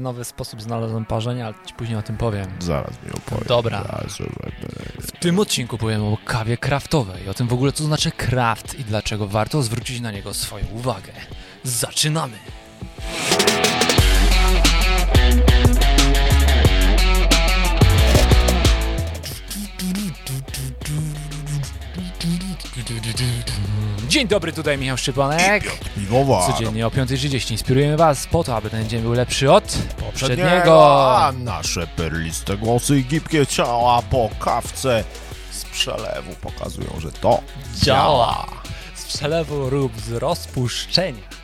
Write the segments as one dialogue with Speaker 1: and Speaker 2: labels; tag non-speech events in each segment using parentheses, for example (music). Speaker 1: nowy sposób znalazłem parzenia, ale ci później o tym powiem.
Speaker 2: Zaraz mi opowiem.
Speaker 1: Dobra.
Speaker 2: Zaraz, że-
Speaker 1: W tym odcinku powiem o kawie kraftowej, o tym w ogóle co znaczy kraft i dlaczego warto zwrócić na niego swoją uwagę. Zaczynamy! Dzień dobry, tutaj Michał Szczypanek.
Speaker 2: Piwowar.
Speaker 1: Codziennie o 5.30 inspirujemy Was po to, aby ten dzień był lepszy od
Speaker 2: A
Speaker 1: poprzedniego.
Speaker 2: nasze perliste głosy i gipkie ciała po kawce z przelewu pokazują, że to
Speaker 1: Działa! Z przelewu lub z rozpuszczenia.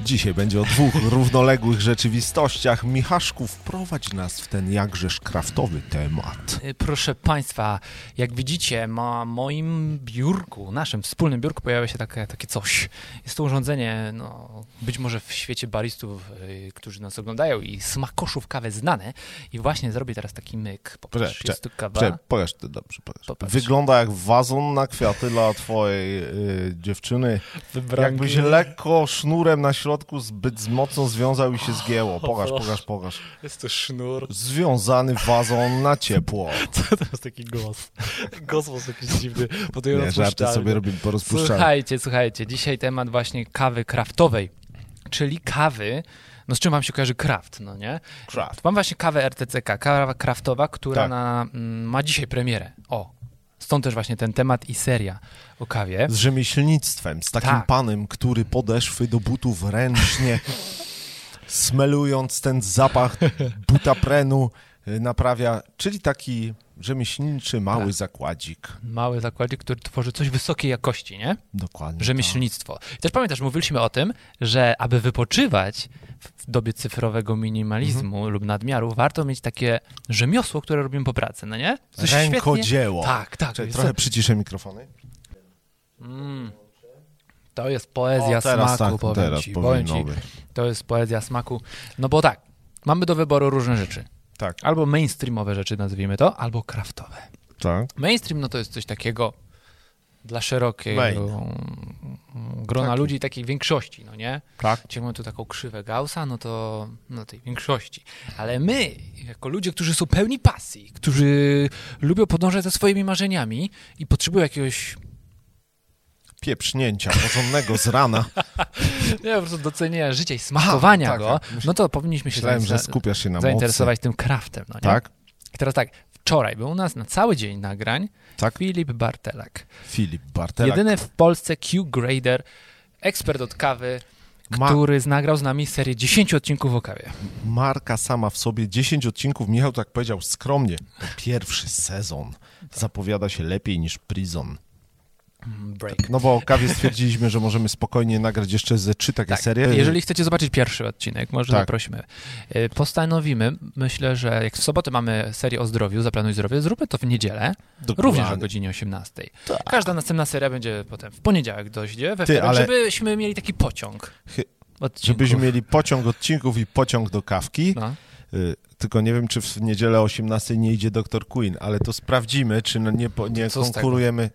Speaker 2: Dzisiaj będzie o dwóch (laughs) równoległych rzeczywistościach. Michaszku, wprowadź nas w ten jakżeż kraftowy temat.
Speaker 1: Y, Proszę Państwa, jak widzicie, na moim biurku, naszym wspólnym biurku pojawia się takie, takie coś. Jest to urządzenie, no, być może w świecie baristów, y, którzy nas oglądają i smakoszów kawy znane. I właśnie zrobię teraz taki myk.
Speaker 2: Poczekaj,
Speaker 1: Popatrz, jest tu kawa.
Speaker 2: Prze, pokaż to dobrze, pokaż.
Speaker 1: Popatrz.
Speaker 2: Wygląda jak wazon na kwiaty dla twojej y, dziewczyny.
Speaker 1: Wybranki.
Speaker 2: Jakbyś lekko sznurem na środku zbyt mocno związał i się zgięło. Pokaż,
Speaker 1: Boże.
Speaker 2: pokaż, pokaż.
Speaker 1: Jest to sznur.
Speaker 2: Związany wazon na ciepło.
Speaker 1: Co to jest taki głos? Głos po prostu jakiś dziwny. Potem
Speaker 2: Nie, żarty sobie robimy po rozpuszczalni.
Speaker 1: Słuchajcie, słuchajcie, dzisiaj temat właśnie kawy kraftowej, czyli kawy, no z czym wam się kojarzy kraft, no nie?
Speaker 2: Kraft.
Speaker 1: Mam właśnie kawę RTCK, kawa kraftowa, która
Speaker 2: Tak.
Speaker 1: na, mm, ma dzisiaj premierę. O, stąd też właśnie ten temat i seria o kawie.
Speaker 2: Z rzemieślnictwem, z takim
Speaker 1: Tak.
Speaker 2: panem, który podeszwy do butów ręcznie, smelując ten zapach butaprenu, y, naprawia, czyli taki rzemieślniczy mały
Speaker 1: Tak.
Speaker 2: zakładzik.
Speaker 1: Mały zakładzik, który tworzy coś wysokiej jakości, nie?
Speaker 2: Dokładnie.
Speaker 1: Rzemieślnictwo.
Speaker 2: Tak.
Speaker 1: I też pamiętasz, mówiliśmy o tym, że aby wypoczywać w- w dobie cyfrowego minimalizmu
Speaker 2: Mhm.
Speaker 1: lub nadmiaru, warto mieć takie rzemiosło, które robimy po pracy, no nie?
Speaker 2: tak.
Speaker 1: świetnie-
Speaker 2: Rękodzieło.
Speaker 1: Tak, tak.
Speaker 2: Czekaj,
Speaker 1: jest
Speaker 2: trochę
Speaker 1: to-
Speaker 2: przyciszę mikrofony.
Speaker 1: To jest poezja
Speaker 2: Mm. O, teraz
Speaker 1: smaku,
Speaker 2: tak,
Speaker 1: powiem
Speaker 2: teraz
Speaker 1: ci. Powiem ci,
Speaker 2: powinno być.
Speaker 1: to jest poezja smaku. No bo tak, mamy do wyboru różne rzeczy.
Speaker 2: Tak,
Speaker 1: Albo mainstreamowe rzeczy, nazwijmy to, albo kraftowe.
Speaker 2: tak.
Speaker 1: Mainstream no to jest coś takiego dla szerokiego
Speaker 2: Main.
Speaker 1: mm, grona
Speaker 2: Taki.
Speaker 1: ludzi, takiej większości, no nie?
Speaker 2: Tak.
Speaker 1: Czyli mamy tu taką krzywę Gaussa, no to no tej większości. Ale my, jako ludzie, którzy są pełni pasji, którzy lubią podążać za swoimi marzeniami i potrzebują jakiegoś
Speaker 2: Pieprznięcia porządnego z
Speaker 1: (laughs)
Speaker 2: rana.
Speaker 1: Nie, po prostu docenienia życia i smakowania
Speaker 2: Aha, tak,
Speaker 1: go,
Speaker 2: tak. Myśl-
Speaker 1: no to powinniśmy się
Speaker 2: Myślałem,
Speaker 1: zain-
Speaker 2: że skupiasz się na mocy.
Speaker 1: zainteresować tym craftem. No nie?
Speaker 2: Tak,
Speaker 1: I teraz tak, wczoraj był u nas na cały dzień nagrań
Speaker 2: tak.
Speaker 1: Filip Bartelak.
Speaker 2: Filip Bartelak
Speaker 1: Jedyny w Polsce Q-grader, ekspert od kawy,
Speaker 2: ma
Speaker 1: który nagrał z nami serię 10 odcinków o kawie.
Speaker 2: marka sama w sobie, 10 odcinków, Michał tak powiedział skromnie. Pierwszy sezon zapowiada się lepiej niż Prison.
Speaker 1: Break.
Speaker 2: No bo o kawie stwierdziliśmy, że możemy spokojnie nagrać jeszcze ze trzy takie
Speaker 1: Tak,
Speaker 2: serie.
Speaker 1: jeżeli chcecie zobaczyć pierwszy odcinek, może
Speaker 2: Tak.
Speaker 1: zaprosimy. Y, Postanowimy, myślę, że jak w sobotę mamy serię o zdrowiu, zaplanuj zdrowie, zróbmy to w niedzielę,
Speaker 2: Dokładnie. Tak.
Speaker 1: również o godzinie 18. Każda następna seria będzie potem w poniedziałek dojdzie, we
Speaker 2: Ty,
Speaker 1: wtorek,
Speaker 2: ale-
Speaker 1: żebyśmy mieli taki pociąg.
Speaker 2: Chy-
Speaker 1: odcinków.
Speaker 2: Żebyśmy mieli pociąg odcinków i pociąg do kawki.
Speaker 1: No.
Speaker 2: Y, Tylko nie wiem, czy w niedzielę o 18 nie idzie Dr. Queen, ale to sprawdzimy, czy no nie, po- nie
Speaker 1: Co z tego?
Speaker 2: konkurujemy.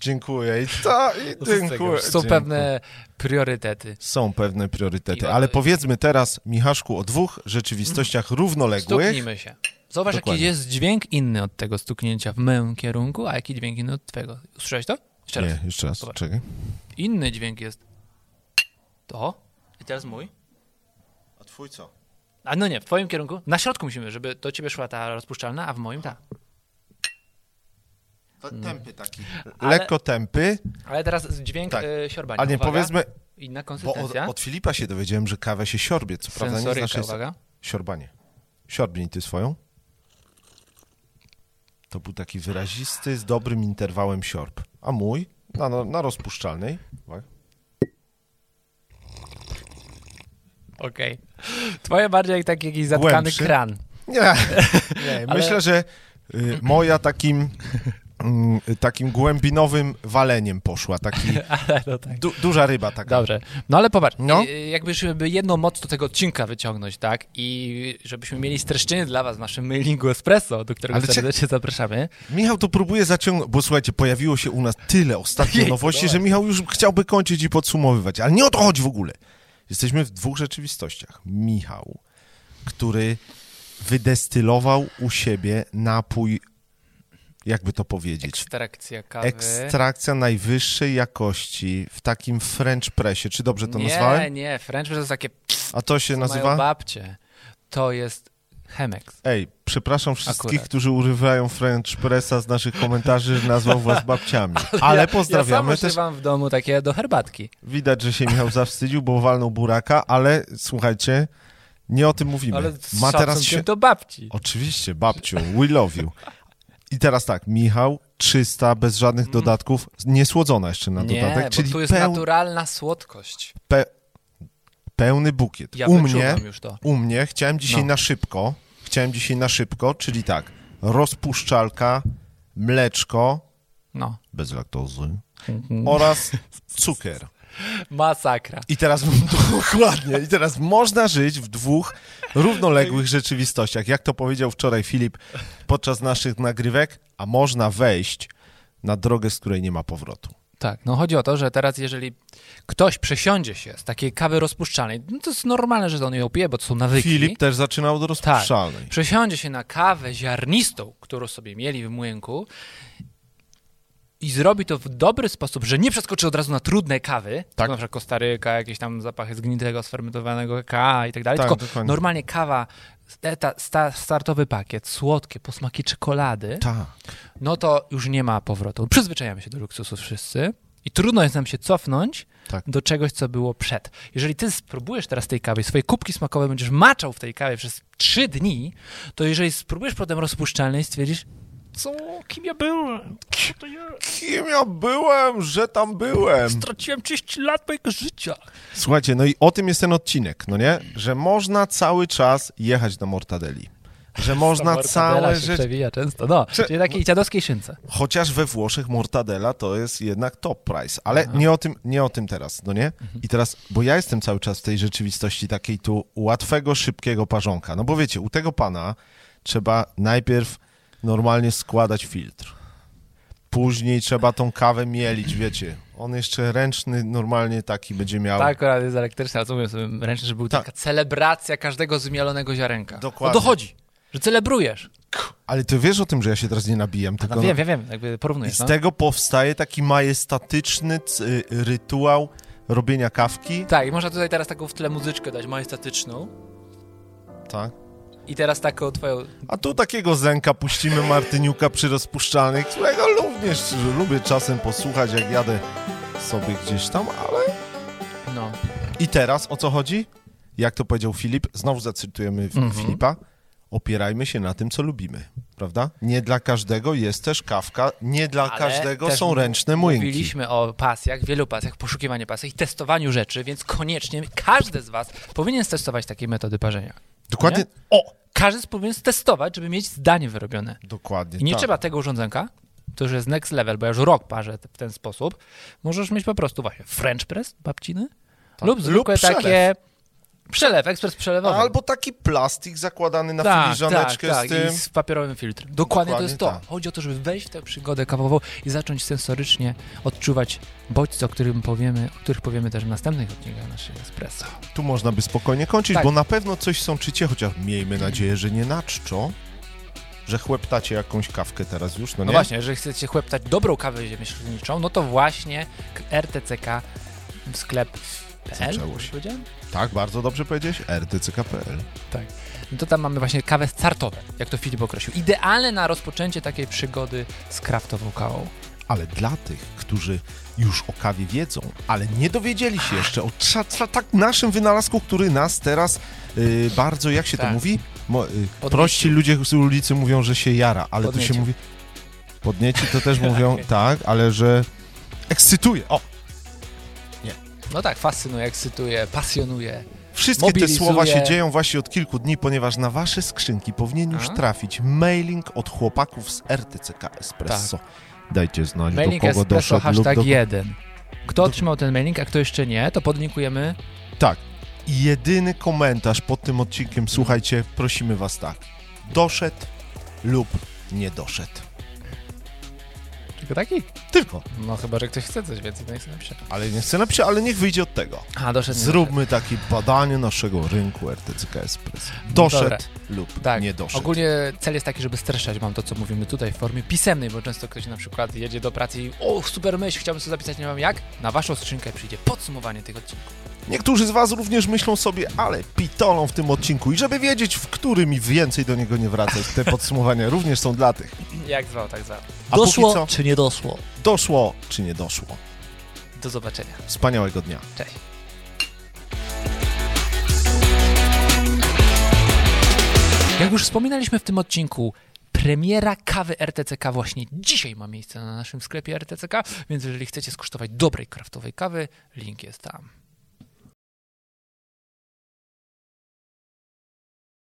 Speaker 2: Dziękuję. I, to, i dziękuję.
Speaker 1: Są
Speaker 2: Dziękuję.
Speaker 1: pewne priorytety.
Speaker 2: Są pewne
Speaker 1: I
Speaker 2: priorytety,
Speaker 1: o-
Speaker 2: ale powiedzmy teraz, Michaszku, o dwóch rzeczywistościach równoległych.
Speaker 1: Mhm. Stuknijmy się. Zobacz, jaki
Speaker 2: Dokładnie.
Speaker 1: jest dźwięk inny od tego stuknięcia w moim kierunku, a jaki dźwięk inny od twego. Słyszałeś to? Jeszcze raz.
Speaker 2: Nie, jeszcze raz,
Speaker 1: Zobacz.
Speaker 2: czekaj.
Speaker 1: Inny dźwięk jest to i teraz mój.
Speaker 2: A twój co?
Speaker 1: A no nie, w twoim kierunku. Na środku musimy, żeby do ciebie szła ta rozpuszczalna, a w moim ta.
Speaker 2: Tępy taki.
Speaker 1: Mhm. Ale-
Speaker 2: Lekko tępy,
Speaker 1: Ale teraz dźwięk
Speaker 2: Tak.
Speaker 1: y, siorbania.
Speaker 2: a nie
Speaker 1: Uwaga.
Speaker 2: powiedzmy,
Speaker 1: Inna
Speaker 2: bo od,
Speaker 1: konsystencja.
Speaker 2: od Filipa się dowiedziałem, że kawę się siorbie, co prawda nie
Speaker 1: Sensoryka,
Speaker 2: znaczy jest...
Speaker 1: uwaga.
Speaker 2: siorbanie. Siorbnij ty swoją. To był taki wyrazisty, z dobrym interwałem siorb. A mój? Na, na, na rozpuszczalnej. Uwaga.
Speaker 1: Okej. Twoje bardziej jak taki jakiś zatkany
Speaker 2: Głębszy. (laughs)
Speaker 1: kran.
Speaker 2: Nie, nie myślę, że y, moja takim, mm, takim głębinowym waleniem poszła. Taki,
Speaker 1: Ale no tak.
Speaker 2: du, duża ryba taka.
Speaker 1: Dobrze. No ale popatrz,
Speaker 2: No.
Speaker 1: no. jakby żeby jedną moc do tego odcinka wyciągnąć, tak? I żebyśmy mieli streszczenie dla was w naszym mailingu Espresso, do którego
Speaker 2: Ale czy-
Speaker 1: serdecznie zapraszamy.
Speaker 2: Michał to próbuje zaciągnąć, bo słuchajcie, pojawiło się u nas tyle ostatnich
Speaker 1: Jejku,
Speaker 2: nowości,
Speaker 1: dawaj.
Speaker 2: że Michał już chciałby kończyć i podsumowywać, ale nie o to chodzi w ogóle. Jesteśmy w dwóch rzeczywistościach. Michał który wydestylował u siebie napój, jakby to powiedzieć,
Speaker 1: Ekstrakcja kawy.
Speaker 2: ekstrakcja najwyższej jakości w takim French pressie. Czy dobrze to
Speaker 1: nie,
Speaker 2: nazwałem?
Speaker 1: nie, French press to jest takie
Speaker 2: A to się
Speaker 1: mają
Speaker 2: nazywa?
Speaker 1: babcie. To jest Chemex.
Speaker 2: Ej, przepraszam wszystkich,
Speaker 1: Akurat.
Speaker 2: którzy używają French pressa z naszych komentarzy, że nazwał was
Speaker 1: (laughs)
Speaker 2: babciami. Ale pozdrawiamy
Speaker 1: ja sam
Speaker 2: też.
Speaker 1: używam w domu takie do herbatki.
Speaker 2: Widać, że się Michał zawstydził, bo walnął buraka, ale słuchajcie, nie o tym mówimy.
Speaker 1: Ale z
Speaker 2: Ma teraz
Speaker 1: szacunkiem
Speaker 2: się...
Speaker 1: do babci.
Speaker 2: Oczywiście, babciu, we love you. I teraz tak, Michał, czysta, bez żadnych dodatków, niesłodzona jeszcze na
Speaker 1: Mm. nie,
Speaker 2: dodatek,
Speaker 1: bo
Speaker 2: czyli
Speaker 1: tu jest
Speaker 2: peł...
Speaker 1: naturalna słodkość.
Speaker 2: pe... pełny bukiet.
Speaker 1: Ja
Speaker 2: u mnie,
Speaker 1: wyczuwam już to.
Speaker 2: u mnie, chciałem dzisiaj
Speaker 1: No.
Speaker 2: na szybko, chciałem dzisiaj na szybko, czyli tak, rozpuszczalka, mleczko,
Speaker 1: No.
Speaker 2: bez laktozy,
Speaker 1: Mhm.
Speaker 2: oraz cukier.
Speaker 1: Masakra.
Speaker 2: I teraz (laughs) dokładnie, i teraz można żyć w dwóch równoległych rzeczywistościach. Jak to powiedział wczoraj Filip podczas naszych nagrywek, a można wejść na drogę, z której nie ma powrotu.
Speaker 1: Tak, no chodzi o to, że teraz jeżeli ktoś przesiądzie się z takiej kawy rozpuszczalnej, no to jest normalne, że on ją pije, bo to są nawyki.
Speaker 2: Filip też zaczynał
Speaker 1: Tak.
Speaker 2: od rozpuszczalnej.
Speaker 1: przesiądzie się na kawę ziarnistą, którą sobie mieli w młynku i zrobi to w dobry sposób, że nie przeskoczy od razu na trudne kawy,
Speaker 2: Tak.
Speaker 1: tak. na przykład Kostaryka, jakieś tam zapachy zgnitego, sfermentowanego kakao i tak dalej,
Speaker 2: Tak,
Speaker 1: tylko
Speaker 2: dokładnie.
Speaker 1: normalnie kawa, eta, sta, startowy pakiet, słodkie, posmaki czekolady,
Speaker 2: Tak.
Speaker 1: no to już nie ma powrotu. Przyzwyczajamy się do luksusu wszyscy i trudno jest nam się cofnąć
Speaker 2: Tak.
Speaker 1: do czegoś, co było przed. Jeżeli ty spróbujesz teraz tej kawy, swoje kubki smakowe będziesz maczał w tej kawie przez trzy dni, to jeżeli spróbujesz potem rozpuszczalnej, stwierdzisz, co, kim ja byłem? Co to ja?
Speaker 2: Kim ja byłem, że tam byłem?
Speaker 1: Straciłem 30 lat mojego życia.
Speaker 2: Słuchajcie, no i o tym jest ten odcinek, no nie? Że można cały czas jechać do mortadeli.
Speaker 1: (laughs)
Speaker 2: Że można
Speaker 1: Ta mortadela
Speaker 2: całe
Speaker 1: się
Speaker 2: rzeczy...
Speaker 1: przewija często, no,
Speaker 2: Prze-
Speaker 1: czyli takiej dziadowskiej szynce.
Speaker 2: Chociaż we Włoszech mortadela to jest jednak top price, ale nie o, tym, nie o tym teraz, no nie?
Speaker 1: Mhm.
Speaker 2: I teraz, bo ja jestem cały czas w tej rzeczywistości takiej tu łatwego, szybkiego parzonka. No bo wiecie, u tego pana trzeba najpierw normalnie składać filtr. Później trzeba tą kawę mielić, wiecie. On jeszcze ręczny normalnie taki będzie miał.
Speaker 1: Tak, akurat jest elektryczna, ale co mówię sobie ręcznie, że był
Speaker 2: Tak.
Speaker 1: taka celebracja każdego zmielonego ziarenka.
Speaker 2: Dokładnie.
Speaker 1: O to chodzi, że celebrujesz.
Speaker 2: Ale ty wiesz o tym, że ja się teraz nie nabijam, tylko...
Speaker 1: No wiem, wiem, wiem, jakby
Speaker 2: I
Speaker 1: porównujesz,
Speaker 2: z
Speaker 1: no.
Speaker 2: tego powstaje taki majestatyczny c- y, rytuał robienia kawki.
Speaker 1: Tak, i można tutaj teraz taką w tle muzyczkę dać majestatyczną
Speaker 2: Tak.
Speaker 1: i teraz taką twoją...
Speaker 2: A tu takiego zenka puścimy Martyniuka przy rozpuszczalnych, którego również lubię czasem posłuchać, jak jadę sobie gdzieś tam, ale...
Speaker 1: No.
Speaker 2: I teraz o co chodzi? Jak to powiedział Filip, znowu zacytujemy
Speaker 1: Mhm.
Speaker 2: F- Filipa, opierajmy się na tym, co lubimy, prawda? Nie dla każdego jest też kawka, nie dla
Speaker 1: Ale
Speaker 2: każdego
Speaker 1: też
Speaker 2: są ręczne młynki.
Speaker 1: Mówiliśmy o pasjach, wielu pasjach, poszukiwaniu pasji i testowaniu rzeczy, więc koniecznie każdy z was powinien stestować takie metody parzenia.
Speaker 2: Dokładnie,
Speaker 1: Nie? O! Każdy z powinien testować, żeby mieć zdanie wyrobione.
Speaker 2: dokładnie
Speaker 1: I nie
Speaker 2: tak.
Speaker 1: trzeba tego urządzenka, to już jest next level, bo ja już rok parzę te- w ten sposób. Możesz mieć po prostu właśnie French press, babciny, lub zwykłe
Speaker 2: Tak. przelew.
Speaker 1: takie... Przelew, ekspres przelewowy.
Speaker 2: Albo taki plastik zakładany na filiżaneczkę
Speaker 1: tak, tak.
Speaker 2: z tym.
Speaker 1: I z papierowym filtrem. Dokładnie, to
Speaker 2: Dokładnie
Speaker 1: jest to.
Speaker 2: tak.
Speaker 1: Chodzi o to, żeby wejść w tę przygodę kawową i zacząć sensorycznie odczuwać bodźce, o, którym powiemy, o których powiemy też w następnych odcinkach naszego espresso.
Speaker 2: Tu można by spokojnie kończyć,
Speaker 1: Tak.
Speaker 2: bo na pewno coś są czycie, chociaż miejmy nadzieję, że nie naczczo, że chłeptacie jakąś kawkę teraz już, no
Speaker 1: No
Speaker 2: nie?
Speaker 1: właśnie, jeżeli chcecie chłeptać dobrą kawę ziemieślniczą, no to właśnie k- RTCK sklep.pl
Speaker 2: Zaczęło się.
Speaker 1: powiedziałem?
Speaker 2: Tak, bardzo dobrze powiedziałeś, rtck.pl.
Speaker 1: Tak. No to tam mamy właśnie kawę startowe, jak to Filip określił. Idealne na rozpoczęcie takiej przygody z kraftową kawą.
Speaker 2: Ale dla tych, którzy już o kawie wiedzą, ale nie dowiedzieli się jeszcze o tra- tra- tak naszym wynalazku, który nas teraz yy, bardzo, jak się to
Speaker 1: Tak.
Speaker 2: mówi? Mo, yy, prości ludzie z ulicy mówią, że się jara, ale tu się
Speaker 1: Podniecił.
Speaker 2: mówi... Podnieci to też
Speaker 1: (laughs)
Speaker 2: mówią, tak, ale że ekscytuje. O,
Speaker 1: No tak, fascynuje, ekscytuje, pasjonuje.
Speaker 2: Wszystkie te
Speaker 1: Mobilizuje.
Speaker 2: słowa się dzieją właśnie od kilku dni, ponieważ na wasze skrzynki powinien już
Speaker 1: A?
Speaker 2: trafić mailing od chłopaków z RTCK Espresso. Dajcie znać,
Speaker 1: Tak. Mailing
Speaker 2: do kogo
Speaker 1: Espresso
Speaker 2: doszedł lub
Speaker 1: hashtag
Speaker 2: do...
Speaker 1: 1. Kto otrzymał ten mailing, a kto jeszcze nie, to podlinkujemy.
Speaker 2: Tak. I jedyny komentarz pod tym odcinkiem, słuchajcie, prosimy was tak. Doszedł lub nie doszedł.
Speaker 1: Tylko taki?
Speaker 2: Tylko.
Speaker 1: No chyba, że ktoś chce coś więcej, to niech sobie napisze.
Speaker 2: Ale nie chcę napisać, ale niech wyjdzie od tego.
Speaker 1: A, doszedł.
Speaker 2: Zróbmy takie badanie naszego rynku RTCK Express. Doszedł
Speaker 1: Dobra.
Speaker 2: lub
Speaker 1: Tak,
Speaker 2: nie doszedł.
Speaker 1: Ogólnie cel jest taki, żeby streszczać wam to, co mówimy tutaj w formie pisemnej, bo często ktoś na przykład jedzie do pracy i o, super myśl, chciałbym sobie zapisać, nie wiem jak. Na waszą skrzynkę przyjdzie podsumowanie tych odcinków.
Speaker 2: Niektórzy z Was również myślą sobie, ale pitolą w tym odcinku. I żeby wiedzieć, w którym i więcej do niego nie wracać, te podsumowania (laughs) również są dla tych.
Speaker 1: Jak zwał, tak zwał.
Speaker 2: A
Speaker 3: Doszło
Speaker 2: póki co,
Speaker 3: czy nie doszło?
Speaker 2: doszło czy nie doszło.
Speaker 1: Do zobaczenia.
Speaker 2: Wspaniałego dnia.
Speaker 1: Cześć. Jak już wspominaliśmy w tym odcinku, premiera kawy RTCK właśnie dzisiaj ma miejsce na naszym sklepie RTCK, więc jeżeli chcecie skosztować dobrej kraftowej kawy, link jest tam.